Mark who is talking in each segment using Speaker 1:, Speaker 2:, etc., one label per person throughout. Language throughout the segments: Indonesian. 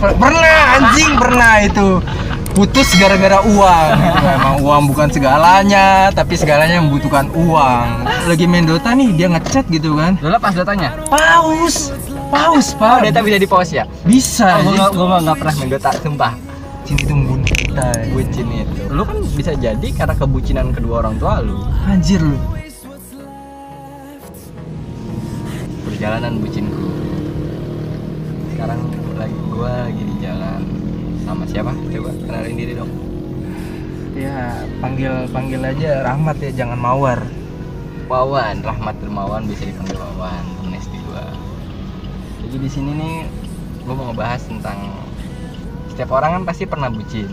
Speaker 1: Per- pernah anjing pernah itu putus gara-gara uang gitu. emang uang bukan segalanya tapi segalanya membutuhkan uang lagi main Dota nih dia ngechat gitu kan
Speaker 2: Lo lepas dotanya?
Speaker 1: paus paus
Speaker 2: Oh,
Speaker 1: pak
Speaker 2: data bisa di pause ya?
Speaker 1: bisa
Speaker 2: Ah, gua
Speaker 1: anjing.
Speaker 2: nggak- gua nggak- nggak pernah main dota, sumpah
Speaker 1: cinta itu membunuh kita anjing.
Speaker 2: Bucin itu Lu kan bisa jadi karena kebucinan kedua orang tua lu
Speaker 1: anjir lu
Speaker 2: Perjalanan bucinku Sekarang lagi gua lagi di jalan Sama siapa? Coba kenalin diri dong
Speaker 1: ya panggil panggil aja Rahmat ya jangan mawar
Speaker 2: Wawan, Rahmat Dermawan bisa dipanggil Wawan, temen SD gua. Jadi di sini nih gua mau ngebahas tentang setiap orang kan pasti pernah bucin.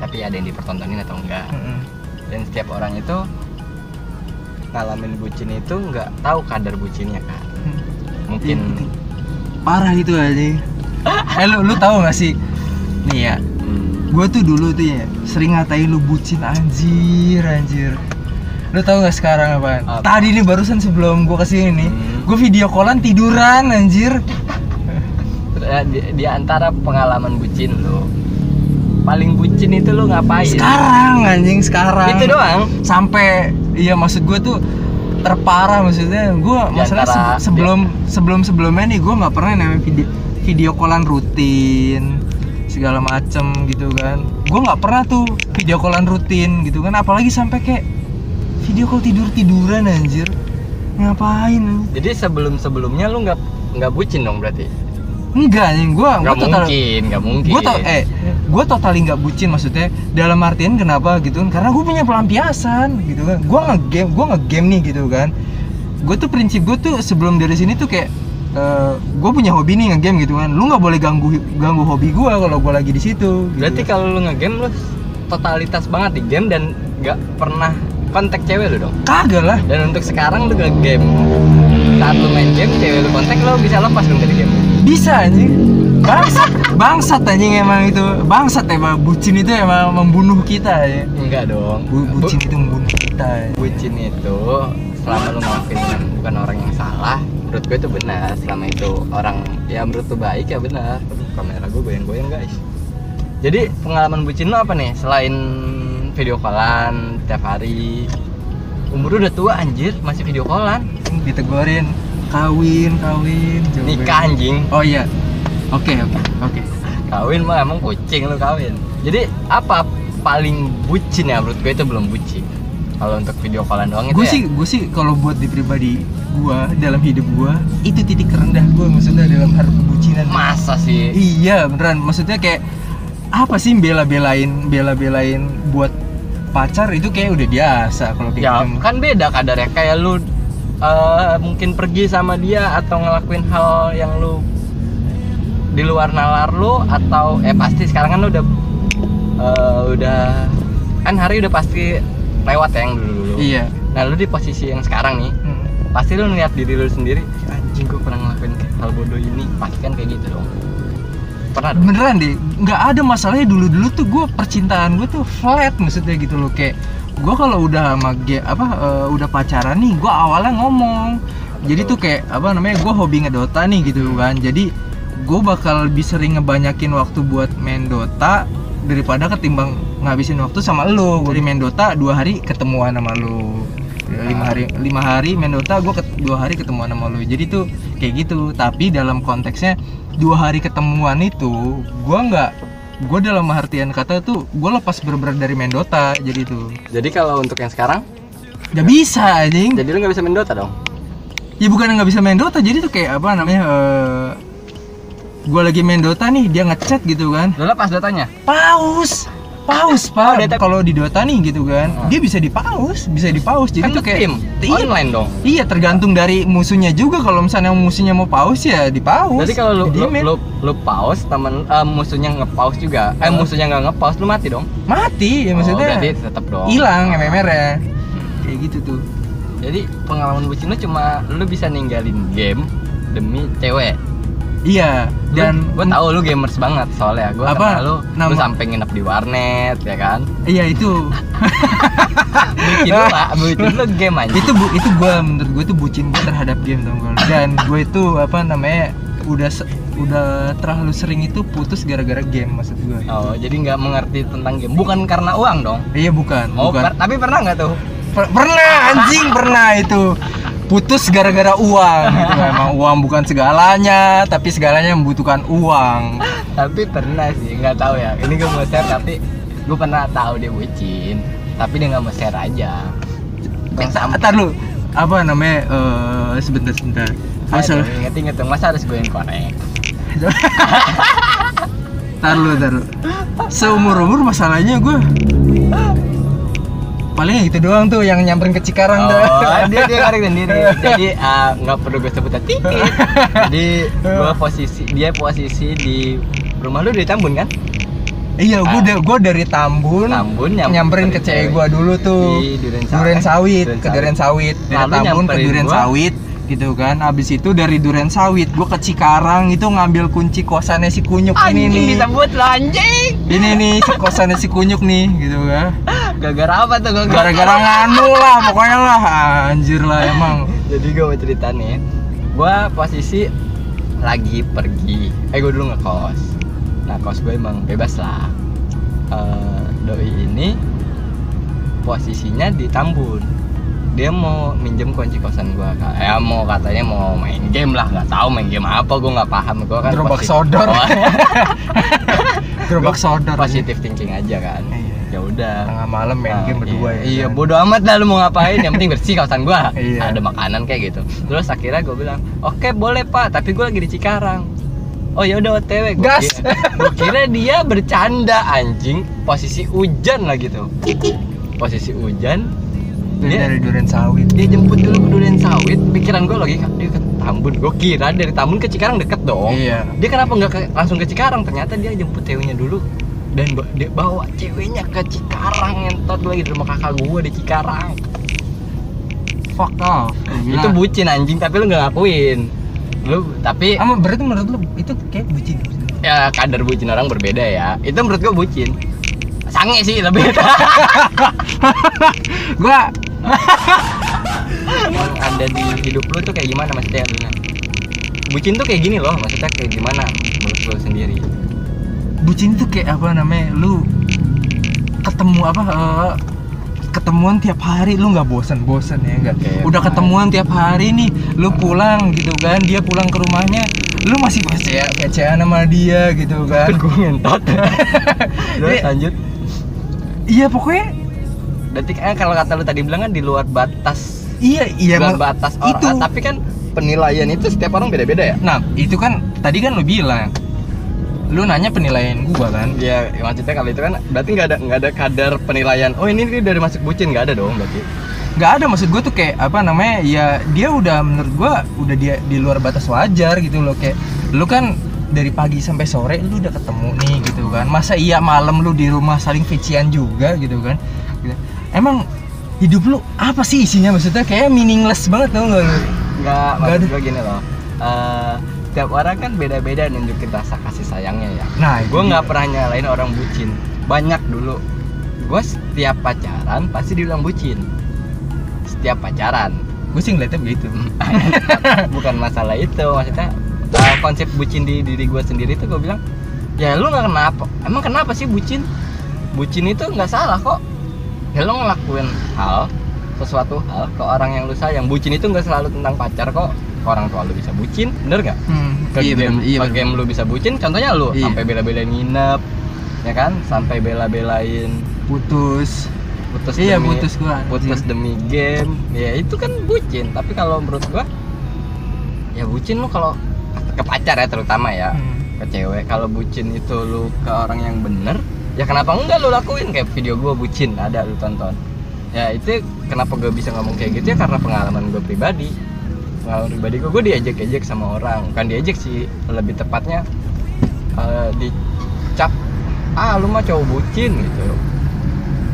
Speaker 2: Tapi ada yang dipertontonin atau enggak.
Speaker 1: Mm-mm.
Speaker 2: Dan setiap orang itu ngalamin bucin itu nggak tahu kadar bucinnya kan. Mungkin
Speaker 1: parah
Speaker 2: gitu,
Speaker 1: itu aja eh lu, lu tahu gak sih nih ya
Speaker 2: Hmm,
Speaker 1: gue tuh dulu tuh ya sering ngatain lu bucin anjir anjir lu tau gak sekarang apaan?
Speaker 2: Apa?
Speaker 1: tadi nih barusan sebelum gue kesini nih
Speaker 2: Hmm.
Speaker 1: gue video callan tiduran anjir
Speaker 2: eh, di, di antara pengalaman bucin lo paling bucin itu lo ngapain?
Speaker 1: sekarang anjing sekarang
Speaker 2: Iya. Itu doang.
Speaker 1: sampai iya maksud gue tuh terparah maksudnya gue
Speaker 2: Di
Speaker 1: masalah
Speaker 2: antara-
Speaker 1: se- sebelum sebelum sebelumnya nih gue nggak pernah yang namanya video video callan rutin segala macem gitu kan gue nggak pernah tuh video callan rutin gitu kan apalagi sampai kayak video call tidur tiduran anjir ngapain
Speaker 2: Jadi sebelum sebelumnya lo nggak nggak bucin dong berarti?
Speaker 1: enggak anjing gue
Speaker 2: Nggak mungkin, nggak mungkin.
Speaker 1: gue tau eh gue totally nggak bucin maksudnya dalam artian kenapa gitu kan karena gue punya pelampiasan gitu kan gue ngegame gue ngegame nih gitu kan gue tuh prinsip gue tuh sebelum dari sini tuh kayak gue punya hobi nih ngegame gitu kan lu nggak boleh ganggu ganggu hobi gue kalau gue lagi di situ gitu.
Speaker 2: Berarti kalau lu ngegame lu totalitas banget di game dan nggak pernah kontak cewek lu dong.
Speaker 1: kagak lah
Speaker 2: Dan untuk sekarang lu ngegame saat lu main game cewek lu kontak lu bisa lepas dong dari game.
Speaker 1: bisa anjing bangsat bangsat anjing emang itu bangsat emang bucin itu emang membunuh kita ya
Speaker 2: Enggak dong.
Speaker 1: Bu-
Speaker 2: Bu-
Speaker 1: bucin itu membunuh kita ya.
Speaker 2: bucin itu selama lu ngelakuin yang bukan orang yang salah, menurut gue itu benar. Selama itu orang ya menurut lu baik ya benar. Aduh, Kamera gue goyang-goyang guys. Jadi pengalaman bucin lu apa nih selain video callan tiap hari? Umur lu udah tua anjir, masih video callan.
Speaker 1: ditegurin kawin kawin coba.
Speaker 2: nikah anjing
Speaker 1: Oh iya. Oke, oke, oke.
Speaker 2: Gitu kawin mah emang kucing lu kawin jadi apa paling bucin ya menurut gue itu belum bucin kalau untuk video callan doang itu
Speaker 1: Gue
Speaker 2: ya
Speaker 1: sih, gue sih kalau buat di pribadi gua dalam hidup gua itu titik terendah gua maksudnya dalam hal kebucinan.
Speaker 2: masa sih
Speaker 1: Iya, beneran. Maksudnya kayak apa sih bela-belain, bela-belain buat pacar itu kayak udah biasa kalau kayak
Speaker 2: ya
Speaker 1: gitu.
Speaker 2: kan beda kadarnya kayak lu eh, mungkin pergi sama dia atau ngelakuin hal yang lu di luar nalar lu atau eh pasti sekarang kan lu udah eh, udah kan hari udah pasti lewat ya yang dulu dulu
Speaker 1: Iya.
Speaker 2: nah lu di posisi yang sekarang nih
Speaker 1: Hmm.
Speaker 2: pasti lu ngeliat diri lu sendiri "Ih, anjing gue pernah ngelakuin kayak hal bodoh ini pasti kan kayak gitu dong pernah dong
Speaker 1: beneran deh nggak ada masalahnya dulu dulu tuh gue percintaan gue tuh flat maksudnya gitu loh kayak gue kalau udah sama ge- apa eh, udah pacaran nih gue awalnya ngomong jadi tuh kayak apa namanya gue hobi ngedota nih gitu kan jadi gue bakal lebih sering ngebanyakin waktu buat main dota daripada ketimbang ngabisin waktu sama lo gue main dota dua hari ketemuan sama lo
Speaker 2: Hmm.
Speaker 1: lima hari lima hari main Dota gue dua hari ketemuan sama lu jadi tuh kayak gitu tapi dalam konteksnya dua hari ketemuan itu gue nggak gue dalam artian kata tuh gue lepas berber dari main Dota jadi tuh
Speaker 2: jadi kalau untuk yang sekarang
Speaker 1: nggak bisa anjing
Speaker 2: jadi lu nggak bisa main Dota dong
Speaker 1: ya bukan nggak bisa main Dota jadi tuh kayak apa namanya eh gue lagi main Dota nih dia ngechat gitu kan
Speaker 2: lu lepas Dotanya
Speaker 1: paus paus pak
Speaker 2: Oh, dia-
Speaker 1: kalau di Dota nih gitu
Speaker 2: Ah.
Speaker 1: kan dia bisa dipaus bisa dipaus jadi
Speaker 2: kan
Speaker 1: tuh
Speaker 2: itu
Speaker 1: kayak
Speaker 2: tim
Speaker 1: Iya,
Speaker 2: online dong
Speaker 1: Iya tergantung dari musuhnya juga kalau misalnya musuhnya mau paus ya di paus.
Speaker 2: jadi kalau lu
Speaker 1: Di
Speaker 2: lu,
Speaker 1: dimin.
Speaker 2: lu, lu pause temen eh, musunya ngepaus juga eh
Speaker 1: Oh.
Speaker 2: musuhnya nggak ngepaus lu mati dong
Speaker 1: mati ya
Speaker 2: Oh,
Speaker 1: maksudnya
Speaker 2: berarti tetap dong
Speaker 1: hilang
Speaker 2: Ah.
Speaker 1: MMR ya. Kayak gitu tuh.
Speaker 2: jadi pengalaman bucin lu cuma lu bisa ninggalin game demi cewek
Speaker 1: Iya dan
Speaker 2: gue tau lu gamers banget soalnya gue
Speaker 1: Apa?
Speaker 2: sama lu lu
Speaker 1: Nama-
Speaker 2: sampai nginep di warnet ya kan
Speaker 1: iya itu
Speaker 2: bucin lu lah bucin lu game aja
Speaker 1: itu bu itu gua menurut gue itu bucin gue terhadap game dong gua. dan gue itu apa namanya udah se- udah terlalu sering itu putus gara-gara game maksud gue
Speaker 2: Oh, jadi nggak mengerti tentang game. Bukan karena uang dong.
Speaker 1: iya bukan
Speaker 2: Mau
Speaker 1: bukan
Speaker 2: Oh, per- tapi pernah nggak tuh?
Speaker 1: Per- pernah anjing pernah itu putus gara-gara uang gitu emang uang bukan segalanya tapi segalanya membutuhkan uang
Speaker 2: tapi pernah sih, nggak tahu ya. Ini gue mau share tapi gue pernah tahu dia bucin, tapi dia nggak mau share aja. Yang sama.
Speaker 1: Ntar lu apa namanya eh, sebentar sebentar masalah
Speaker 2: Ingat inget dong, masa harus gue yang korek?
Speaker 1: Ntar lu, ntar lu. Seumur umur masalahnya gue paling gitu doang tuh yang nyamperin ke Cikarang tuh.
Speaker 2: Oh, dia dia korek sendiri. Jadi ah, nggak perlu gue sebut titik. Jadi gue posisi dia posisi di rumah lu di Tambun kan?
Speaker 1: Iya, gue gua dari Tambun,
Speaker 2: Ah. Tambun nyam-
Speaker 1: nyamperin ke
Speaker 2: nyamperin
Speaker 1: cewek gue dulu tuh.
Speaker 2: di Duren Sawit.
Speaker 1: Duren Sawit,
Speaker 2: Duren
Speaker 1: ke
Speaker 2: Sawit.
Speaker 1: Duren Sawit, dari
Speaker 2: Lalu
Speaker 1: Tambun ke
Speaker 2: nyamperin
Speaker 1: Duren
Speaker 2: gua.
Speaker 1: Sawit gitu kan. Abis itu dari Duren Sawit gue ke Cikarang itu ngambil kunci kosannya si Kunyuk ini
Speaker 2: Anjing
Speaker 1: nih.
Speaker 2: disebut lo anjing.
Speaker 1: Ini nih si kosannya si Kunyuk nih gitu kan.
Speaker 2: Gara-gara apa tuh? Gara-gara
Speaker 1: Gara-gara nganu lah pokoknya lah anjir lah emang.
Speaker 2: Jadi gue mau cerita nih Gue posisi lagi pergi Eh gue dulu ngekos Nah kos gue emang bebas lah Eh, Doi ini posisinya di Tambun Dia mau minjem kunci kosan gue Ya mau katanya mau main game lah Gak tahu main game apa gue gak paham Gue kan
Speaker 1: Gerobak
Speaker 2: posi-
Speaker 1: sodor.
Speaker 2: Oh,
Speaker 1: Gerobak
Speaker 2: gua
Speaker 1: sodor.
Speaker 2: Positive thinking aja kan
Speaker 1: Iya.
Speaker 2: Ya udah
Speaker 1: Tengah malam main
Speaker 2: Nah,
Speaker 1: game berdua
Speaker 2: iya,
Speaker 1: ya.
Speaker 2: iya
Speaker 1: kan.
Speaker 2: bodo amat lah lu mau ngapain yang penting bersih kawasan gua
Speaker 1: Iya.
Speaker 2: ada makanan kayak gitu terus akhirnya gua bilang oke boleh pak tapi gua lagi di Cikarang oh ya udah otw gua
Speaker 1: Gas.
Speaker 2: kira, gua kira dia bercanda anjing posisi hujan lah gitu posisi hujan
Speaker 1: Dari,
Speaker 2: Dia-
Speaker 1: dari Duren Sawit.
Speaker 2: dia jemput dulu ke Duren Sawit pikiran gua logika dia ke Tambun gua kira dari Tambun ke Cikarang deket dong
Speaker 1: Iya.
Speaker 2: dia kenapa nggak ke- langsung ke Cikarang ternyata dia jemput ceweknya dulu dan ba- dia bawa ceweknya ke Cikarang entot lagi di rumah kakak gua di Cikarang
Speaker 1: Fuck off. Gila.
Speaker 2: itu bucin anjing tapi lu nggak ngakuin lu tapi
Speaker 1: Ama berarti menurut lu itu kayak bucin.
Speaker 2: ya kadar bucin orang berbeda ya itu menurut gua bucin sange sih lebih
Speaker 1: Gua
Speaker 2: yang ada di hidup lu tuh kayak gimana maksudnya Luna bucin tuh kayak gini loh maksudnya kayak gimana menurut lu sendiri
Speaker 1: bucin tuh kayak apa namanya? Lu ketemu apa eh, ketemuan tiap hari lu nggak bosen-bosen ya enggak.
Speaker 2: Oke,
Speaker 1: Udah
Speaker 2: paham.
Speaker 1: ketemuan tiap hari nih, lu pulang gitu kan, dia pulang ke rumahnya, lu masih percaya percayaan sama dia gitu kan.
Speaker 2: gue ngentot terus
Speaker 1: Iya.
Speaker 2: lanjut
Speaker 1: iya pokoknya
Speaker 2: detik eh, kalau kata lu tadi bilang kan di luar batas
Speaker 1: iya iya
Speaker 2: bukan
Speaker 1: ma-
Speaker 2: batas
Speaker 1: itu.
Speaker 2: orang tapi kan penilaian itu setiap orang beda-beda ya
Speaker 1: Nah, itu kan tadi kan lu bilang. Lu nanya penilaian gua kan.
Speaker 2: ya maksudnya kalau itu kan berarti nggak ada nggak ada kadar penilaian oh ini dia dari masuk bucin nggak ada dong berarti
Speaker 1: nggak ada maksud gua tuh kayak apa namanya? Ya dia udah menurut gua udah dia di luar batas wajar gitu loh kayak lu kan dari pagi sampai sore lu udah ketemu nih gitu kan. Masa iya malam lu di rumah saling vician juga gitu kan. Gitu. Emang hidup lu apa sih isinya maksudnya kayak meaningless banget tau gak lu?
Speaker 2: nggak
Speaker 1: Nggak
Speaker 2: maksud
Speaker 1: ada.
Speaker 2: gue gini loh Eh, tiap orang kan beda-beda nunjukin rasa kasih sayangnya ya
Speaker 1: Nah, itu
Speaker 2: gue nggak
Speaker 1: dia.
Speaker 2: pernah nyalain orang bucin banyak dulu gue setiap pacaran pasti dibilang bucin setiap pacaran
Speaker 1: Gua sih ngeliatnya begitu.
Speaker 2: bukan masalah itu maksudnya uh, konsep bucin di diri gue sendiri tuh gue bilang ya lu nggak kenapa emang kenapa sih bucin bucin itu nggak salah kok ya lu ngelakuin hal sesuatu hal ke orang yang lu sayang bucin itu nggak selalu tentang pacar kok Ke orang tua lu bisa bucin bener nggak
Speaker 1: Hmm,
Speaker 2: ke
Speaker 1: bener,
Speaker 2: game,
Speaker 1: iya, bener.
Speaker 2: ke game lu bisa bucin contohnya lu
Speaker 1: Iya.
Speaker 2: sampai bela-belain nginep ya kan sampai bela-belain
Speaker 1: putus.
Speaker 2: putus
Speaker 1: Iya,
Speaker 2: demi-
Speaker 1: putus gua.
Speaker 2: putus
Speaker 1: anjing.
Speaker 2: demi game ya itu kan bucin tapi kalau menurut gua ya bucin lu kalau ke pacar ya terutama ya
Speaker 1: Hmm.
Speaker 2: ke cewek kalau bucin itu lu ke orang yang bener ya kenapa enggak lu lakuin kayak video gua bucin ada lu tonton ya itu kenapa gue bisa ngomong kayak gitu ya karena pengalaman gue pribadi pengalaman pribadi gue gue diajak-ajak sama orang bukan diajak sih lebih tepatnya eh, dicap ah lu mah cowok bucin gitu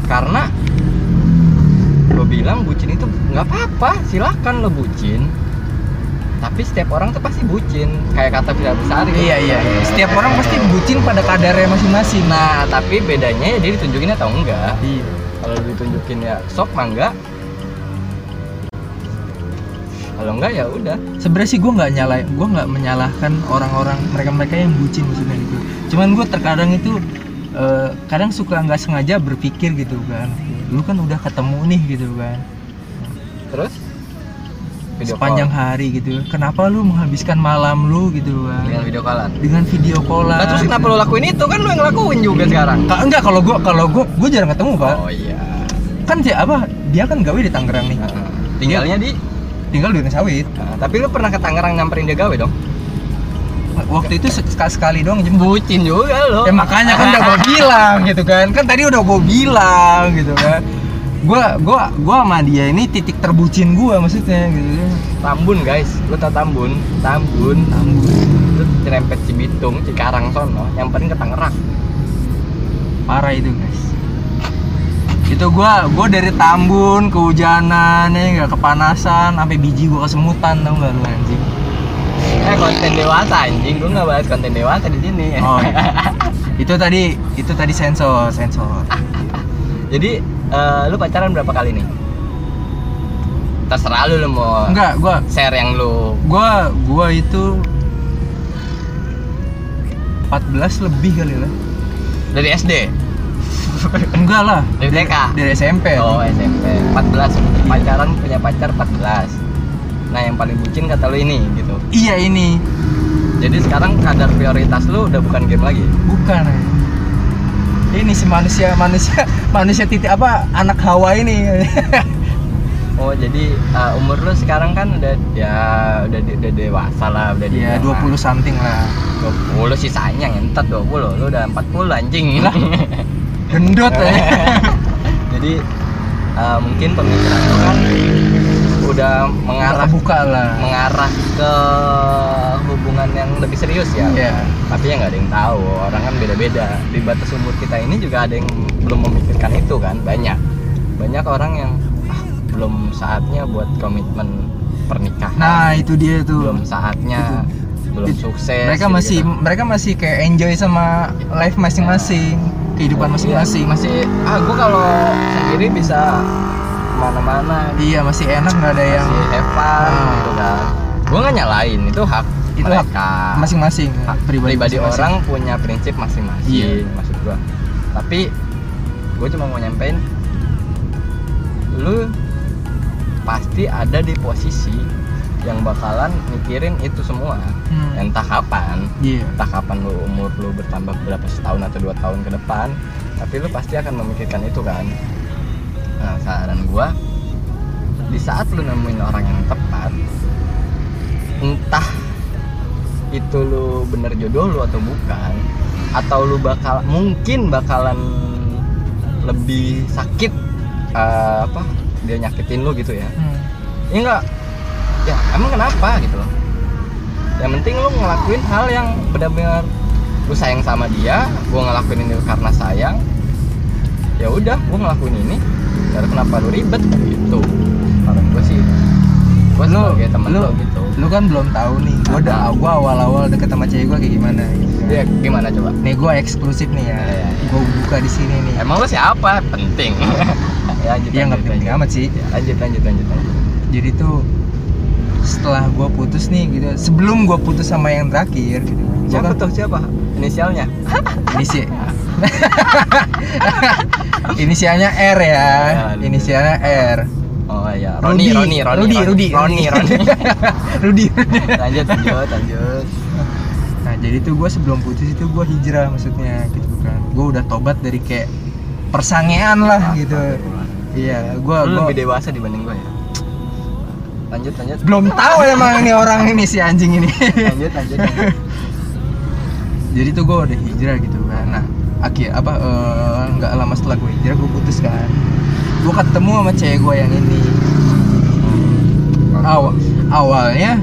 Speaker 2: karena gue bilang bucin itu nggak apa-apa silakan lo bucin tapi setiap orang tuh pasti bucin kayak kata Fira Besari
Speaker 1: Iya iya iya. Setiap orang pasti bucin pada kadarnya masing-masing.
Speaker 2: nah tapi bedanya ya dia ditunjukin atau enggak
Speaker 1: Iya.
Speaker 2: kalau ditunjukin ya sok mangga kalau enggak ya udah
Speaker 1: sebenarnya sih gue nggak nyalain gue nggak menyalahkan orang-orang mereka-mereka yang bucin maksudnya gitu cuman gue terkadang itu eh, kadang suka nggak sengaja berpikir gitu kan lu kan udah ketemu nih gitu kan
Speaker 2: terus
Speaker 1: sepanjang
Speaker 2: call.
Speaker 1: hari gitu kenapa lu menghabiskan malam lu gitu
Speaker 2: dengan
Speaker 1: kan
Speaker 2: video callan
Speaker 1: dengan video callan
Speaker 2: Iya. nah, terus kenapa lo lakuin itu kan lo yang ngelakuin juga
Speaker 1: Iya.
Speaker 2: sekarang
Speaker 1: Ka- enggak kalau gue kalau gue gue jarang ketemu pak
Speaker 2: oh iya
Speaker 1: kan si apa dia kan gawe di Tangerang nih
Speaker 2: Heeh. tinggalnya di
Speaker 1: Iya. tinggal di Sawit
Speaker 2: Nah, tapi lo pernah ke Tangerang nyamperin dia gawe dong
Speaker 1: waktu itu se- sekali, sekali doang jemput
Speaker 2: bucin juga lo
Speaker 1: ya makanya kan udah gue bilang gitu kan kan tadi udah gue bilang gitu kan gue gua gua sama dia ini titik terbucin gue maksudnya gitu kan
Speaker 2: Tambun guys, lu tau Tambun? Tambun, itu cerempet Cibitung, Cikarang sono, nyamperin ke Tangerang.
Speaker 1: parah itu guys itu gue gua dari Tambun kehujanan ya nggak kepanasan sampai biji gue kesemutan tau nggak lu anjing
Speaker 2: Eh konten dewasa anjing, gua nggak bahas konten dewasa di sini.
Speaker 1: oh itu tadi itu tadi sensor sensor
Speaker 2: Jadi eh, lu pacaran berapa kali nih? Terserah lu, lu mau
Speaker 1: enggak gue
Speaker 2: share yang lu
Speaker 1: gua gua itu 14 lebih kali lah
Speaker 2: dari SD,
Speaker 1: enggak lah
Speaker 2: dari TK.
Speaker 1: dari SMP
Speaker 2: Oh SMP, 14 pacaran punya pacar 14. Nah yang paling bucin kata lu ini gitu.
Speaker 1: iya ini
Speaker 2: Jadi sekarang kadar prioritas lu udah bukan game lagi.
Speaker 1: bukan ya. ini si manusia manusia manusia titik apa anak Hawa ini Iya,
Speaker 2: Oh jadi uh, umur lu sekarang kan udah ya udah de- udah dewasa lah udah
Speaker 1: ya 20 something lah
Speaker 2: 20 sisanya ngentet 20 lu udah 40 anjing
Speaker 1: Lah. gendut ya
Speaker 2: jadi uh, mungkin pemikiran lu kan udah mengarah
Speaker 1: buka lah
Speaker 2: mengarah ke hubungan yang lebih serius ya
Speaker 1: ya
Speaker 2: tapi ya nggak ada yang tahu orang kan beda-beda di batas umur kita ini juga ada yang belum memikirkan itu kan banyak banyak orang yang ah, belum saatnya buat komitmen pernikahan
Speaker 1: nah itu dia tuh
Speaker 2: belum saatnya belum
Speaker 1: Itu.
Speaker 2: sukses gitu kan."
Speaker 1: mereka
Speaker 2: gitu-gitu.
Speaker 1: masih mereka masih kayak enjoy sama life masing-masing kehidupan
Speaker 2: Iya,
Speaker 1: masing-masing
Speaker 2: masih ah gua kalau sendiri bisa kemana-mana gitu,
Speaker 1: iya masih enak nggak ada yang
Speaker 2: masih have fun
Speaker 1: Ah.
Speaker 2: gitu kan gua nggak nyalain itu hak
Speaker 1: Itu hak
Speaker 2: mereka
Speaker 1: masing-masing
Speaker 2: Hak Iya. pribadi,
Speaker 1: pribadi, masing-masing.
Speaker 2: orang punya prinsip masing-masing
Speaker 1: Iya.
Speaker 2: maksud gua tapi gua cuma mau nyampein lu pasti ada di posisi yang bakalan mikirin itu semua
Speaker 1: Hmm.
Speaker 2: entah kapan
Speaker 1: iya
Speaker 2: entah kapan lu umur lu bertambah berapa setahun atau dua tahun ke depan tapi lu pasti akan memikirkan itu kan nah saran gua di saat lu nemuin orang yang tepat entah itu lu bener jodoh lu atau bukan atau lu bakal mungkin bakalan lebih sakit eh, apa dia nyakitin lu gitu ya
Speaker 1: Hmm.
Speaker 2: ya enggak ya emang kenapa gitu loh yang penting lu ngelakuin hal yang benar-benar lu sayang sama dia gua ngelakuin ini karena sayang ya udah gua ngelakuin ini karena kenapa lu ribet gitu kalau gua sih gua
Speaker 1: Lu-
Speaker 2: sebagai temen
Speaker 1: lu-
Speaker 2: lu, gitu
Speaker 1: lu kan belum tahu nih gua udah gua awal-awal deket sama cewek gua kayak gimana gitu kan.
Speaker 2: ya gimana coba
Speaker 1: nih gua eksklusif nih ya
Speaker 2: Iya, iya.
Speaker 1: gua buka di sini nih
Speaker 2: emang lu siapa penting ya lanjut
Speaker 1: ya nggak
Speaker 2: lanjut,
Speaker 1: penting
Speaker 2: lanjut.
Speaker 1: amat sih
Speaker 2: Ya, lanjut lanjut lanjut lanjut
Speaker 1: jadi tuh setelah gua putus nih gitu sebelum gua putus sama yang terakhir gitu gua
Speaker 2: siapa
Speaker 1: kan-
Speaker 2: tuh siapa inisialnya
Speaker 1: ini sih inisialnya R ya
Speaker 2: Ya, lanjut.
Speaker 1: inisialnya R
Speaker 2: oh ya Roni Roni
Speaker 1: Rudy,
Speaker 2: Roni
Speaker 1: Rudy, Rudy,
Speaker 2: Roni Roni
Speaker 1: Rudy
Speaker 2: lanjut lanjut lanjut
Speaker 1: Nah jadi tuh gue sebelum putus itu gue hijrah maksudnya gitu kan Gue udah tobat dari kayak persangean lah gitu Iya gue
Speaker 2: Lu
Speaker 1: gua...
Speaker 2: lebih dewasa dibanding gue ya. Hmm. Lanjut lanjut.
Speaker 1: belum tahu emang ini orang ini si anjing ini
Speaker 2: Lanjut lanjut. lanjut.
Speaker 1: Jadi tuh gue udah hijrah gitu kan Nah akhir apa eh, nggak lama setelah gue hijrah gue putus kan Gue ketemu sama cewek gue yang ini Aw- Awalnya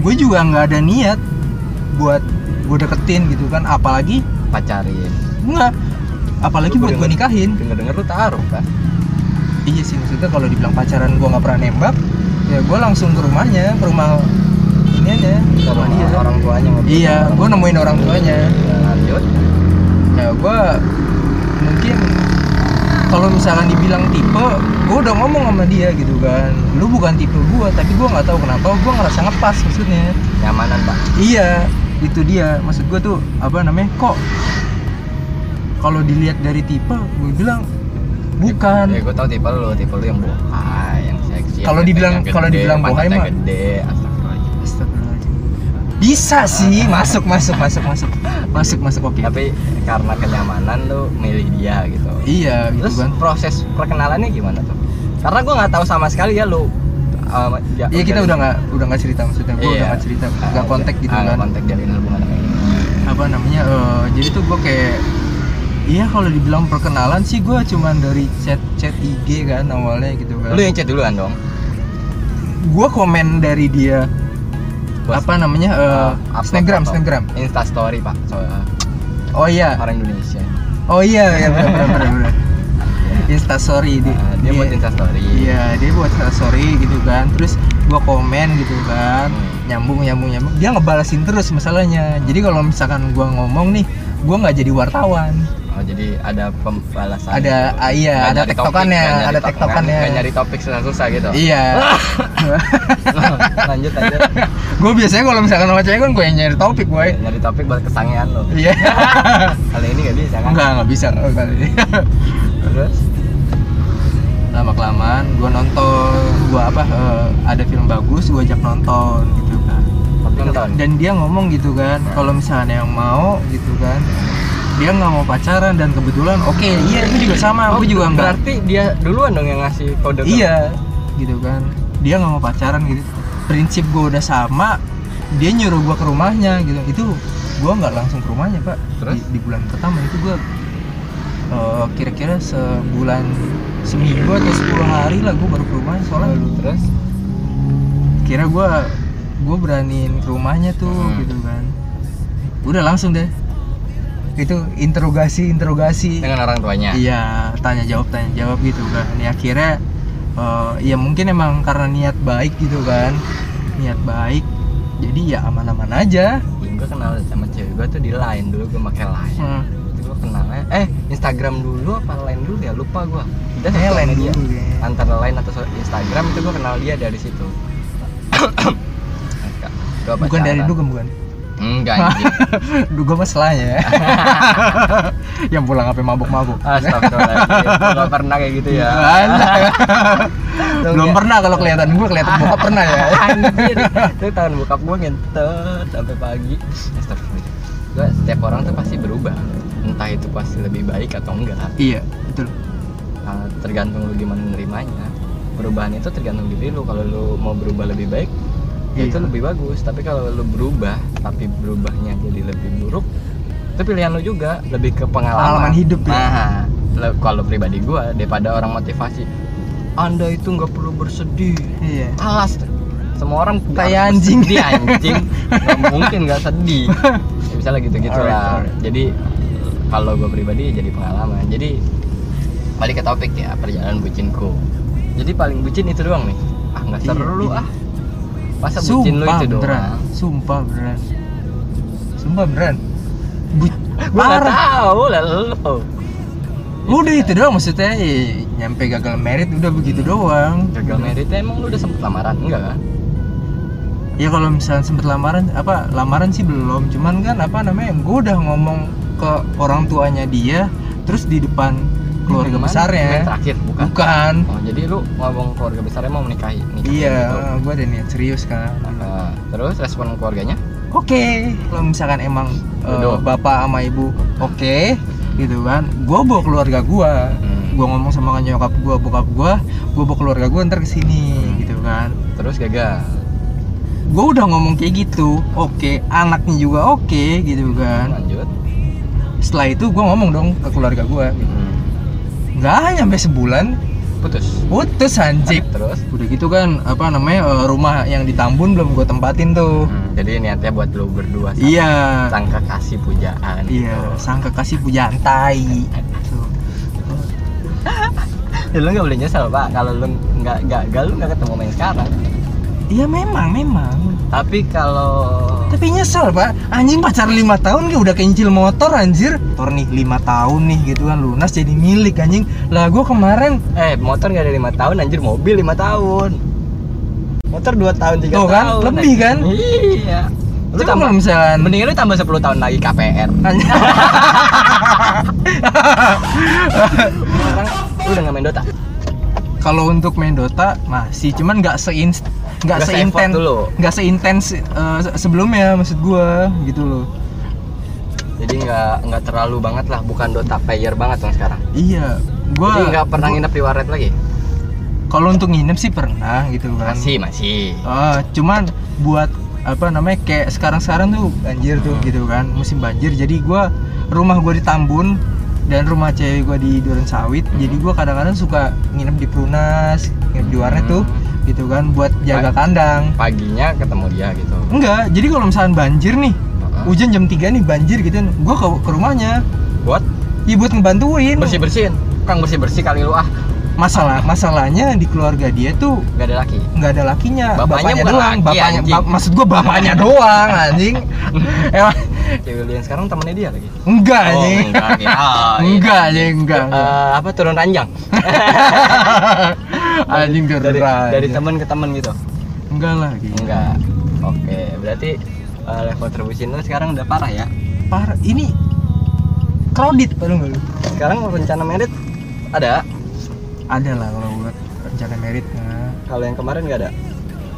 Speaker 1: gue juga nggak ada niat buat gue deketin gitu kan Apalagi
Speaker 2: Pacarin.
Speaker 1: nggak Apalagi
Speaker 2: Lu
Speaker 1: buat gue
Speaker 2: denger-
Speaker 1: nikahin
Speaker 2: Denger denger lu taruh kan.
Speaker 1: Iya sih maksudnya kalau dibilang pacaran gua nggak pernah nembak, ya gua langsung ke rumahnya, ke rumah ini aja, ke rumah
Speaker 2: Sama
Speaker 1: dia.
Speaker 2: orang tuanya ngobrol.
Speaker 1: Iya,
Speaker 2: Orang
Speaker 1: gua nemuin orang tuanya.
Speaker 2: tuanya. Lanjut.
Speaker 1: Ya gua mungkin kalau misalkan dibilang tipe gue udah ngomong sama dia gitu kan lu bukan tipe gue tapi gue nggak tahu kenapa gue ngerasa ngepas maksudnya
Speaker 2: nyamanan pak
Speaker 1: iya itu dia maksud gue tuh apa namanya kok kalau dilihat dari tipe gue bilang
Speaker 2: ya
Speaker 1: bukan
Speaker 2: gue tau tipe lu tipe lu yang bohai yang seksi
Speaker 1: Kalau
Speaker 2: yang
Speaker 1: dibilang-
Speaker 2: gede,
Speaker 1: kalau dibilang bohai
Speaker 2: pantatnya
Speaker 1: mah-
Speaker 2: gede astagfirullahaladzim.
Speaker 1: Astagfirullahaladzim. bisa sih masuk masuk masuk masuk masuk masuk oke
Speaker 2: tapi karena kenyamanan lu milih dia gitu
Speaker 1: iya gitu
Speaker 2: terus
Speaker 1: kan
Speaker 2: proses perkenalannya gimana tuh karena gue nggak tahu sama sekali ya lu uh, ja-
Speaker 1: Iya kita
Speaker 2: jalin-
Speaker 1: udah nggak udah nggak cerita maksudnya gue udah nggak cerita
Speaker 2: Ah,
Speaker 1: nggak kontak gitu
Speaker 2: ah, nggak
Speaker 1: kan
Speaker 2: kontak jalin hubungan sama ini
Speaker 1: apa namanya eh, jadi tuh gue kayak iya kalau dibilang perkenalan sih gue cuman dari chat chat IG kan awalnya gitu kan
Speaker 2: lu yang chat duluan dong
Speaker 1: gue komen dari dia
Speaker 2: Bos.
Speaker 1: apa namanya eh,
Speaker 2: Eh, upload
Speaker 1: snapgram
Speaker 2: foto.
Speaker 1: snapgram
Speaker 2: instastory pak so,
Speaker 1: oh iya
Speaker 2: orang Indonesia
Speaker 1: oh iya ya benar benar benar, benar Insta sorry di,
Speaker 2: Ah, dia buat instastory
Speaker 1: Iya, dia buat sorry gitu kan. Terus gua komen gitu kan. Nyambung nyambung nyambung. Dia ngebalasin terus masalahnya. Jadi kalau misalkan gua ngomong nih, gua nggak jadi wartawan.
Speaker 2: Oh, jadi ada pembalasan
Speaker 1: Ada- ah, iya,
Speaker 2: Nggak
Speaker 1: ada
Speaker 2: nyari
Speaker 1: tektokannya,
Speaker 2: topik, nggak nyari
Speaker 1: ada
Speaker 2: topik,
Speaker 1: tektokannya.
Speaker 2: nggak nyari topik susah-susah gitu
Speaker 1: Iya.
Speaker 2: lanjut lanjut
Speaker 1: gua biasanya kalau misalkan sama cewek kan gua yang nyari topik, boy.
Speaker 2: nyari topik buat kesangian lo
Speaker 1: Iya.
Speaker 2: kali ini nggak bisa kan
Speaker 1: Enggak, enggak bisa kalau kali ini.
Speaker 2: terus
Speaker 1: Lama kelamaan gua nonton, gua apa eh, ada film bagus, gua ajak nonton gitu kan.
Speaker 2: tapi nonton
Speaker 1: dan dia ngomong gitu kan kalau misalnya yang mau gitu kan dia nggak mau pacaran dan kebetulan oke iya itu juga sama aku juga nggak
Speaker 2: Oh, berarti dia duluan dong yang ngasih kode ke-
Speaker 1: iya gitu kan dia nggak mau pacaran gitu prinsip gue udah sama dia nyuruh gue ke rumahnya gitu itu gue nggak langsung ke rumahnya pak
Speaker 2: Terus?
Speaker 1: Di, di bulan pertama itu gue eh, kira-kira sebulan seminggu atau 10 hari lah gue baru ke rumahnya soalnya
Speaker 2: Lalu terus
Speaker 1: kira gue gue beraniin ke rumahnya tuh
Speaker 2: Hmm.
Speaker 1: gitu kan udah langsung deh itu interogasi interogasi
Speaker 2: dengan orang tuanya
Speaker 1: iya tanya jawab tanya jawab gitu kan ya akhirnya eh, ya mungkin emang karena niat baik gitu kan niat baik jadi ya aman-aman aja
Speaker 2: gue kenal sama cewek gue tuh di line dulu gue pakai line itu gue kenalnya eh Instagram dulu apa line dulu ya lupa gue dan
Speaker 1: Eh, Line
Speaker 2: dia
Speaker 1: dulu ya.
Speaker 2: antara line atau so- Instagram itu gue kenal dia dari situ Gua
Speaker 1: bukan
Speaker 2: pacaran.
Speaker 1: dari dugem bukan
Speaker 2: enggak anjing.
Speaker 1: dugem mah selahnya ya yang pulang apa mabuk-mabuk
Speaker 2: astagfirullahaladzim Gua nggak pernah kayak gitu ya
Speaker 1: Alah.
Speaker 2: Tuh,
Speaker 1: belum
Speaker 2: ya.
Speaker 1: pernah kalau kelihatan gue kelihatan bokap pernah ya
Speaker 2: anjir itu tangan bokap gue ngentet sampai pagi astagfirullahaladzim gue setiap orang tuh pasti berubah entah itu pasti lebih baik atau enggak
Speaker 1: iya betul
Speaker 2: Nah, tergantung lu gimana menerimanya perubahan itu tergantung diri lu kalau lu mau berubah lebih baik ya itu
Speaker 1: Iya.
Speaker 2: lebih bagus tapi kalau lu berubah tapi berubahnya jadi lebih buruk itu pilihan lu juga lebih ke pengalaman,
Speaker 1: Pengalaman hidup ya.
Speaker 2: nah le- kalau pribadi gua daripada orang motivasi anda itu nggak perlu bersedih
Speaker 1: iya
Speaker 2: alas semua orang nggak
Speaker 1: Tai
Speaker 2: harus
Speaker 1: anjing.
Speaker 2: bersedih, anjing nggak mungkin nggak sedih ya, misalnya gitu gitu lah
Speaker 1: Alright, alright.
Speaker 2: jadi kalau gue pribadi ya jadi pengalaman jadi balik ke topik ya perjalanan bucinku jadi paling bucin itu doang nih ah nggak seru
Speaker 1: Iya,
Speaker 2: lu
Speaker 1: iya.
Speaker 2: ah masa bucin lu itu
Speaker 1: beneran.
Speaker 2: doang
Speaker 1: Sumpah beneran. Sumpah beneran. Bu
Speaker 2: gue nggak
Speaker 1: parah.
Speaker 2: tahu lah lu
Speaker 1: Udah itu doang maksudnya eh, nyampe gagal merit udah begitu doang.
Speaker 2: gagal merit emang lu udah sempet lamaran enggak kan
Speaker 1: Ya kalau misalnya sempet lamaran apa lamaran sih belum, cuman kan apa namanya gue udah ngomong ke orang tuanya dia terus di depan keluarga
Speaker 2: Gimana? Yang
Speaker 1: besarnya.
Speaker 2: terakhir bukan
Speaker 1: Bukan.
Speaker 2: oh jadi lu ngomong keluarga besarnya mau menikahi nikahin
Speaker 1: Iya,
Speaker 2: gitu.
Speaker 1: gue ada niat serius kan.
Speaker 2: Nah, terus respon keluarganya
Speaker 1: Oke, kalau misalkan emang eh,
Speaker 2: Jodoh.
Speaker 1: bapak sama ibu oke, gitu kan. Gue bawa keluarga gua
Speaker 2: Hmm.
Speaker 1: Gua ngomong sama nyokap gua, bokap gua, gua bawa keluarga gua ntar kesini, gitu kan.
Speaker 2: terus gagal
Speaker 1: Gua udah ngomong kayak gitu, oke, anaknya juga oke, gitu kan.
Speaker 2: lanjut
Speaker 1: Setelah itu gua ngomong dong ke keluarga gua. gitu. Hmm. Nggak nyampe sebulan,
Speaker 2: putus
Speaker 1: putus anjing.
Speaker 2: terus
Speaker 1: Udah gitu kan, apa namanya eh, rumah yang di Tambun belum gua tempatin tuh.
Speaker 2: jadi niatnya buat lu berdua sama
Speaker 1: Hmm. Iya.
Speaker 2: sang kekasih pujaan
Speaker 1: Iya, sang kekasih pujaan tai. Tuh.
Speaker 2: gitu. ya, lu nggak boleh nyesel pak kalau lu nggak gagal lu nggak ketemu main sekarang
Speaker 1: Iya memang, memang.
Speaker 2: tapi kalau
Speaker 1: Tapi nyesel pak, anjing pacar lima tahun kayak udah keincil motor anjir Motor nih lima tahun nih gitu kan lunas jadi milik anjing Lah gua kemarin
Speaker 2: eh motor nggak ada lima tahun anjir mobil lima tahun motor dua tahun tiga
Speaker 1: Tuh kan,
Speaker 2: tahun
Speaker 1: lebih kan?
Speaker 2: iya lu
Speaker 1: Coba
Speaker 2: tambah
Speaker 1: kalau misalkan
Speaker 2: mendingan lu tambah 10 tahun lagi KPR
Speaker 1: anjing
Speaker 2: sekarang lu udah nggak main Dota
Speaker 1: Kalau untuk main Dota masih cuman nggak seinst nggak
Speaker 2: Nggak se-effort
Speaker 1: seintens
Speaker 2: dulu.
Speaker 1: nggak seintens eh, se- sebelumnya maksud gua gitu loh
Speaker 2: jadi nggak nggak terlalu banget lah bukan Dota player banget dong sekarang
Speaker 1: Iya, gua
Speaker 2: jadi nggak pernah nginep di warnet lagi
Speaker 1: Nah. Kalau untuk nginep sih pernah gitu kan
Speaker 2: masih masih
Speaker 1: Ah, cuman buat apa namanya kayak sekarang-sekarang tuh banjir tuh
Speaker 2: Hmm.
Speaker 1: gitu kan musim banjir jadi gua rumah gua di Tambun dan rumah cewek gua di Durensawit
Speaker 2: Hmm.
Speaker 1: jadi gua kadang-kadang suka nginep di Prunas nginep di warnet tuh gitu kan buat jaga
Speaker 2: Hmm. Baik.
Speaker 1: kandang
Speaker 2: paginya ketemu dia gitu
Speaker 1: enggak jadi kalau misalkan banjir nih
Speaker 2: Heeh.
Speaker 1: hujan jam 3 nih banjir gitu gua ke, ke rumahnya
Speaker 2: buat
Speaker 1: ya buat ngebantuin
Speaker 2: bersih bersihin kang bersih bersih kali lu ah
Speaker 1: masalah masalahnya di keluarga dia tuh
Speaker 2: nggak ada laki
Speaker 1: nggak ada lakinya
Speaker 2: Bapaknya bukan
Speaker 1: doang
Speaker 2: laki,
Speaker 1: bapaknya
Speaker 2: anjing.
Speaker 1: bap- maksud gua bapaknya doang anjing emang
Speaker 2: cewek lu yang sekarang temennya dia lagi
Speaker 1: enggak anjing
Speaker 2: enggak, iya. Oh, iya.
Speaker 1: enggak anjing enggak
Speaker 2: Eh, apa turun ranjang
Speaker 1: anjing
Speaker 2: dari
Speaker 1: beneran
Speaker 2: dari teman ke teman gitu
Speaker 1: enggak lah gitu
Speaker 2: enggak oke berarti eh, level terbucin lu sekarang udah parah ya
Speaker 1: parah ini kredit baru enggak lu
Speaker 2: sekarang rencana merit ada
Speaker 1: ada lah kalau buat rencana merit nah
Speaker 2: kalau yang kemarin nggak ada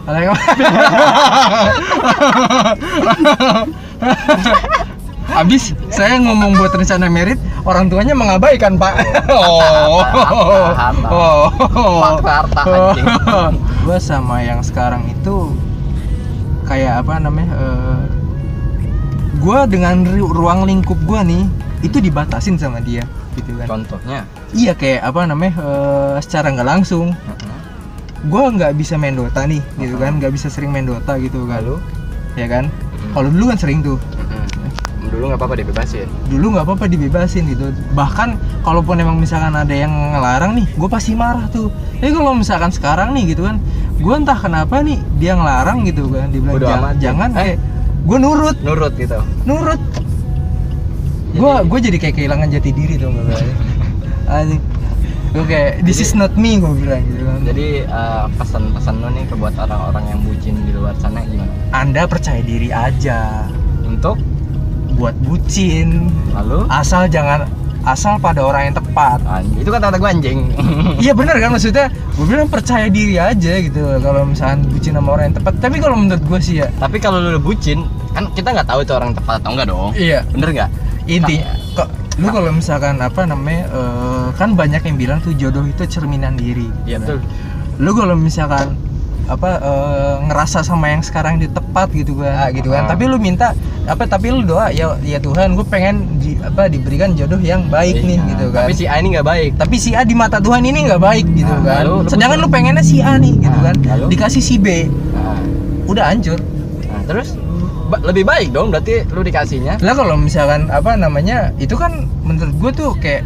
Speaker 1: Ada yang- Habis saya ngomong buat rencana merit, orang tuanya mengabaikan, Pak. Oh.
Speaker 2: harta, harta.
Speaker 1: Oh.
Speaker 2: Fakta harta, anjing.
Speaker 1: Gua sama yang sekarang itu kayak apa namanya? eh, gua dengan ru- ruang lingkup gua nih itu dibatasin sama dia gitu kan.
Speaker 2: contohnya
Speaker 1: Iya kayak apa namanya? eh, secara nggak langsung gue nggak bisa main Dota nih gitu kan nggak bisa sering main Dota gitu kan
Speaker 2: Lalu? Hmm.
Speaker 1: ya kan kalau dulu kan sering tuh
Speaker 2: dulu nggak apa-apa dibebasin
Speaker 1: dulu nggak apa-apa dibebasin gitu bahkan kalaupun emang misalkan ada yang ngelarang nih gue pasti marah tuh tapi kalau misalkan sekarang nih gitu kan gue entah kenapa nih dia ngelarang gitu kan dia bilang
Speaker 2: Bodo
Speaker 1: jangan
Speaker 2: amat, ya."
Speaker 1: jangan
Speaker 2: Eh.
Speaker 1: kayak gue nurut
Speaker 2: nurut gitu
Speaker 1: nurut
Speaker 2: Jadi-
Speaker 1: gue gue jadi kayak kehilangan jati diri dong gue anjing gue kayak this is
Speaker 2: Jadi-
Speaker 1: not me gue bilang gitu kan
Speaker 2: jadi eh, pesan-pesan lu nih ke buat orang-orang yang bucin di luar sana gimana
Speaker 1: anda percaya diri aja
Speaker 2: untuk
Speaker 1: buat bucin
Speaker 2: lalu
Speaker 1: asal jangan asal pada orang yang tepat
Speaker 2: Anjing. itu kata-kata gue anjing
Speaker 1: iya bener kan maksudnya gue bilang percaya diri aja gitu kalau misalkan bucin sama orang yang tepat tapi kalau menurut gue sih ya
Speaker 2: tapi kalau lu udah bucin kan kita nggak tahu itu orang tepat atau enggak dong
Speaker 1: iya
Speaker 2: bener nggak
Speaker 1: inti
Speaker 2: Nah,
Speaker 1: kok lu kalau misalkan apa namanya eh, kan banyak yang bilang tuh jodoh itu cerminan diri
Speaker 2: iya
Speaker 1: gitu.
Speaker 2: betul
Speaker 1: lu kalau misalkan apa eh, ngerasa sama yang sekarang di tepat gitu kan gitu kan
Speaker 2: Ah.
Speaker 1: tapi lu minta apa tapi lu doa ya ya Tuhan gue pengen di, apa diberikan jodoh yang baik nih
Speaker 2: Iya.
Speaker 1: gitu kan
Speaker 2: tapi si A ini nggak baik
Speaker 1: tapi si A di mata Tuhan ini nggak baik gitu
Speaker 2: Nah,
Speaker 1: kan
Speaker 2: lalu lu-
Speaker 1: sedangkan lu pengennya si A nih gitu
Speaker 2: Nah,
Speaker 1: kan
Speaker 2: lalu?
Speaker 1: dikasih si B
Speaker 2: nah,
Speaker 1: udah hancur
Speaker 2: nah, terus ba- lebih baik dong berarti lu dikasihnya
Speaker 1: lah kalau misalkan apa namanya itu kan menurut gue tuh kayak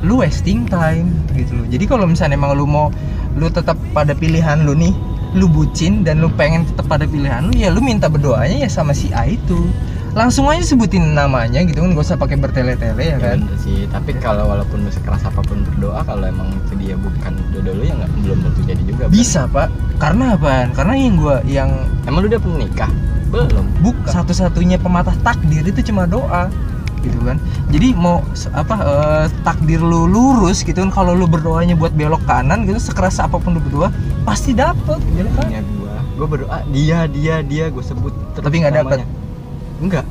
Speaker 1: lu wasting time gitu loh jadi kalau misalnya emang lu mau lu tetap pada pilihan lu nih lu bucin dan lu pengen tetap pada pilihan lu ya lu minta berdoanya ya sama si A itu langsung aja sebutin namanya gitu kan gak usah pakai bertele-tele ya kan
Speaker 2: Bener Iya sih tapi kalau walaupun lu sekeras apapun berdoa kalau emang itu dia bukan jodoh lu ya nggak belum tentu jadi juga bener.
Speaker 1: bisa pak karena apaan karena yang gua yang
Speaker 2: emang lu udah pernah nikah belum
Speaker 1: buk satu-satunya pematah takdir itu cuma doa gitu kan jadi mau se- apa eh, takdir lu lurus gitu kan kalau lu berdoanya buat belok kanan gitu sekeras apapun lu berdoa pasti dapet gitu kan
Speaker 2: punya gua gua berdoa dia dia dia gua sebut
Speaker 1: Tapi nggak dapet.
Speaker 2: namanya. enggak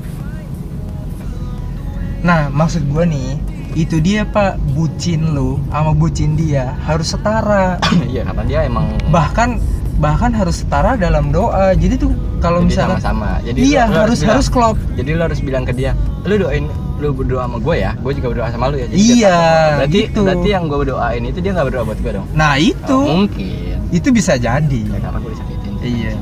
Speaker 1: nah maksud gua nih itu dia pak bucin lu sama bucin dia harus setara
Speaker 2: iya karena dia emang
Speaker 1: bahkan bahkan harus setara dalam doa jadi tuh kalau
Speaker 2: jadi
Speaker 1: misalkan
Speaker 2: sama-sama jadi
Speaker 1: iya
Speaker 2: lu- lu
Speaker 1: harus
Speaker 2: bilang-
Speaker 1: harus klop
Speaker 2: jadi lu harus bilang ke dia lu doain lu berdoa sama gua ya gua juga berdoa sama lu ya jadi
Speaker 1: Iya,
Speaker 2: biar- berarti
Speaker 1: gitu.
Speaker 2: berarti yang gua doain itu dia nggak berdoa buat gua dong
Speaker 1: nah
Speaker 2: Oh,
Speaker 1: itu
Speaker 2: mungkin
Speaker 1: itu bisa jadi
Speaker 2: ya karena gua disakitin
Speaker 1: Iya.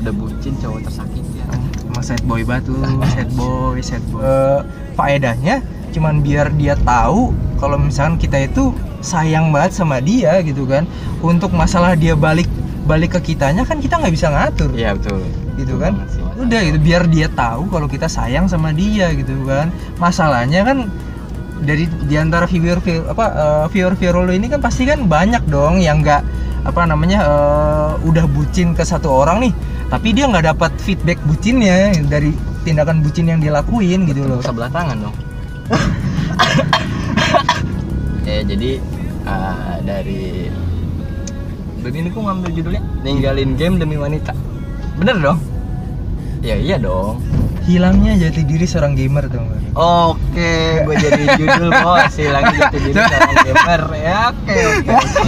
Speaker 2: udah bucin cowok tersakiti ya.
Speaker 1: Emang sad boy banget lu, sad boy, sad boy. Eh, faedahnya cuman biar dia tahu kalau misalkan kita itu sayang banget sama dia gitu kan. Untuk masalah dia balik balik ke kitanya kan kita nggak bisa ngatur
Speaker 2: iya betul
Speaker 1: gitu
Speaker 2: Betul
Speaker 1: kan
Speaker 2: banget sih, Mas.
Speaker 1: udah gitu biar dia tahu kalau kita sayang sama dia gitu kan masalahnya kan dari diantara viewer viewer apa eh, viewer viewer lo ini kan pasti kan banyak dong yang nggak apa namanya eh, udah bucin ke satu orang nih tapi dia nggak dapat feedback bucinnya dari tindakan bucin yang dilakuin gitu loh
Speaker 2: sebelah tangan dong ya jadi eh, dari dari ini kok ngambil judulnya ninggalin game demi wanita bener dong ya iya dong
Speaker 1: hilangnya jati diri seorang gamer tuh
Speaker 2: oke gue jadi judul bos hilangin jati diri seorang gamer ya oke oke, oke.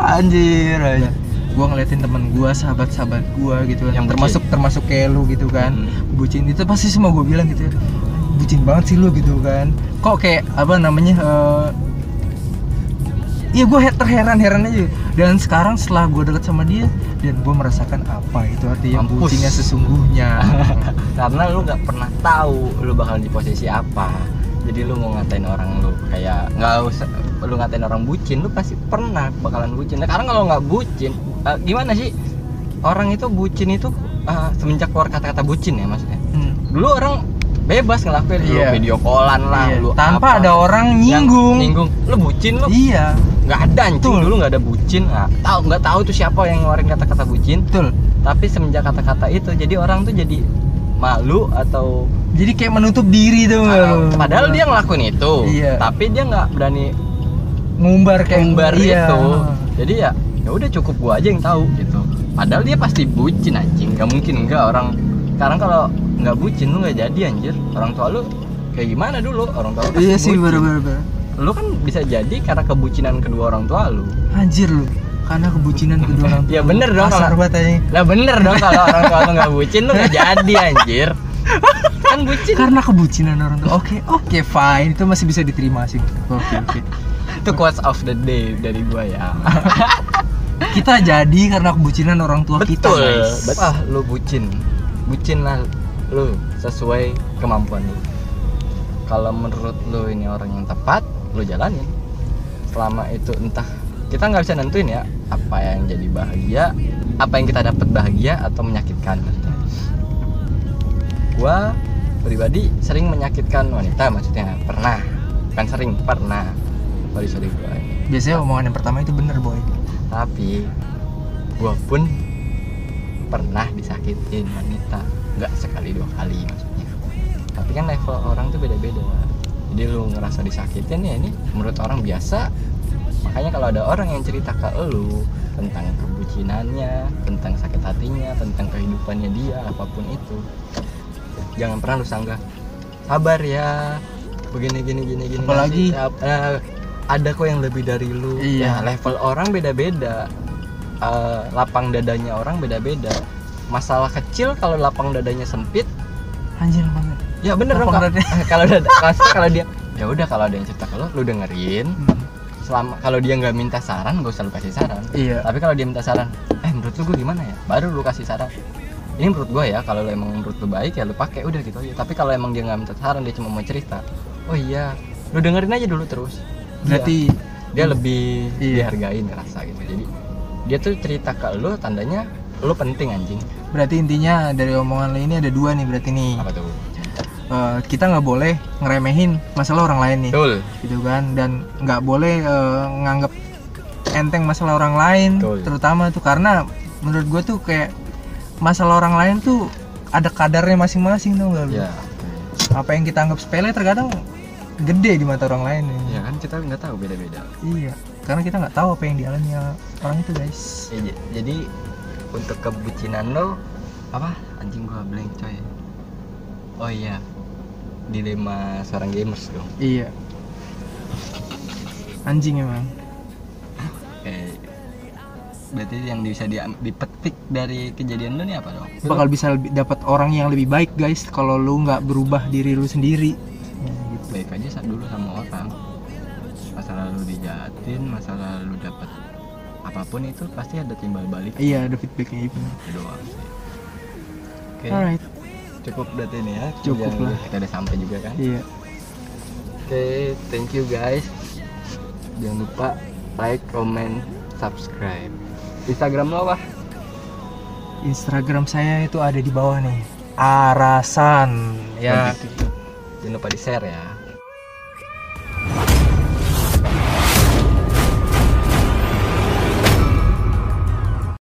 Speaker 1: anjir aja gue ngeliatin temen gue sahabat-sahabat gue gitu kan
Speaker 2: Yang bucin.
Speaker 1: termasuk termasuk kayak lu gitu kan
Speaker 2: Hmm.
Speaker 1: bucin itu pasti semua gue bilang gitu bucin banget sih lu gitu kan kok kayak apa namanya eh, Iya gue terheran-heran aja Dan sekarang setelah gue deket sama dia Dan gue merasakan apa itu artinya
Speaker 2: Mampus.
Speaker 1: bucinnya sesungguhnya
Speaker 2: karena lu nggak pernah tahu lu bakal di posisi apa jadi lu mau ngatain orang lu kayak nggak usah lu ngatain orang bucin lu pasti pernah bakalan bucin nah, karena kalau nggak bucin eh, gimana sih orang itu bucin itu eh, semenjak keluar kata-kata bucin ya maksudnya
Speaker 1: Hmm.
Speaker 2: dulu orang bebas ngelakuin
Speaker 1: Iya.
Speaker 2: lu video callan lah
Speaker 1: Iya,
Speaker 2: lu
Speaker 1: Tanpa
Speaker 2: apa.
Speaker 1: ada orang
Speaker 2: Yang
Speaker 1: nyinggung,
Speaker 2: nyinggung lu bucin lu
Speaker 1: Iya
Speaker 2: nggak ada anjing
Speaker 1: Betul.
Speaker 2: dulu nggak ada bucin nggak tahu nggak tahu tuh siapa yang ngeluarin kata-kata bucin
Speaker 1: betul
Speaker 2: tapi semenjak kata-kata itu jadi orang tuh jadi malu atau
Speaker 1: Jadi kayak menutup diri tuh
Speaker 2: uh, padahal dia ngelakuin itu
Speaker 1: Iya.
Speaker 2: tapi dia nggak berani
Speaker 1: ngumbar kayak
Speaker 2: kembar
Speaker 1: iya.
Speaker 2: itu jadi ya ya udah cukup gua aja yang tahu gitu padahal dia pasti bucin anjing nggak mungkin nggak orang sekarang kalau nggak bucin lu nggak jadi anjir orang tua lu kayak gimana dulu orang tua lu pasti
Speaker 1: Iya sih
Speaker 2: bucin.
Speaker 1: bener-bener
Speaker 2: lu kan bisa jadi karena kebucinan kedua orang tua lu
Speaker 1: Anjir lu Karena kebucinan kedua orang
Speaker 2: Ya, bener dong
Speaker 1: Kasar
Speaker 2: kalau-
Speaker 1: banget aja.
Speaker 2: lah bener dong kalau orang tua lu nggak bucin lu nggak jadi anjir kan bucin
Speaker 1: Karena kebucinan orang tua Oke oke fine Itu masih bisa diterima sih Oke oke
Speaker 2: itu quotes of the day dari gua ya
Speaker 1: Kita jadi karena kebucinan orang tua
Speaker 2: Oh,
Speaker 1: kita
Speaker 2: betul
Speaker 1: guys
Speaker 2: betul ah lu bucin bucin lah lu sesuai kemampuan lu kalau menurut lu ini orang yang tepat lu jalanin selama itu entah kita nggak bisa nentuin ya apa yang jadi bahagia apa yang kita dapat bahagia atau menyakitkan gua pribadi sering menyakitkan wanita maksudnya pernah kan sering pernah sorry sorry gua ini
Speaker 1: Biasanya omongan yang pertama itu bener boy
Speaker 2: tapi gue pun pernah disakitin wanita nggak sekali dua kali maksudnya tapi kan level orang tuh beda-beda jadi lu ngerasa disakitin ya ini menurut orang biasa makanya kalau ada orang yang cerita ke lu tentang kebucinannya tentang sakit hatinya tentang kehidupannya dia apapun itu jangan pernah lu sanggah sabar ya begini gini gini gini
Speaker 1: Apalagi-
Speaker 2: ngasih- eh, ada kok yang lebih dari lu
Speaker 1: Iya.
Speaker 2: Ya, level orang beda-beda Eh, lapang dadanya orang beda-beda masalah kecil kalau lapang dadanya sempit
Speaker 1: Anjir banget
Speaker 2: ya bener dong
Speaker 1: Lapang
Speaker 2: Kak. kalau dada maksudnya kalau dia ya udah kalau ada yang cerita ke lu lu dengerin
Speaker 1: Hmm.
Speaker 2: selama kalau dia nggak minta saran gak usah lu kasih saran
Speaker 1: Iya.
Speaker 2: tapi kalau dia minta saran eh menurut lu gue gimana ya baru lu kasih saran ini menurut gue ya kalau lu emang menurut lu baik ya lu pakai udah gitu aja tapi kalau emang dia nggak minta saran dia cuma mau cerita oh iya lu dengerin aja dulu terus
Speaker 1: Berarti
Speaker 2: Iya. dia lebih
Speaker 1: Iya.
Speaker 2: dihargain ngerasa gitu jadi dia tuh cerita ke lu tandanya lu penting anjing
Speaker 1: Berarti intinya dari omongan lo ini ada dua nih berarti nih
Speaker 2: apa tuh
Speaker 1: Eh, Kita nggak boleh ngeremehin masalah orang lain nih
Speaker 2: betul
Speaker 1: gitu kan dan nggak boleh eh, nganggap enteng masalah orang lain
Speaker 2: Betul.
Speaker 1: terutama tuh karena menurut gue tuh kayak masalah orang lain tuh ada kadarnya masing-masing tuh nggak lu?
Speaker 2: ya
Speaker 1: apa yang kita anggap sepele terkadang gede di mata orang lain
Speaker 2: ya kan kita nggak tahu beda beda
Speaker 1: iya karena kita nggak tahu apa yang dialami orang itu guys
Speaker 2: Ya, jadi untuk kebucinan lo apa anjing gua blank coy oh iya dilema seorang gamers dong
Speaker 1: iya anjing emang
Speaker 2: eh berarti yang bisa diam- dipetik dari kejadian lo nih apa dong
Speaker 1: bakal bisa lebih- dapat orang yang lebih baik guys kalau lu nggak berubah diri lu sendiri Ya, gitu.
Speaker 2: baik aja saat dulu sama orang masa lalu dijahatin masa lalu dapat apapun itu pasti ada timbal balik
Speaker 1: iya ada feedbacknya itu
Speaker 2: itu doang sih. oke
Speaker 1: alright
Speaker 2: cukup berarti ini ya
Speaker 1: Cukup
Speaker 2: Yang
Speaker 1: lah.
Speaker 2: kita udah sampai juga kan
Speaker 1: iya
Speaker 2: oke thank you guys jangan lupa like comment subscribe Instagram lo apa?
Speaker 1: Instagram saya itu ada di bawah nih. Arasan ya.
Speaker 2: Jangan lupa di share ya.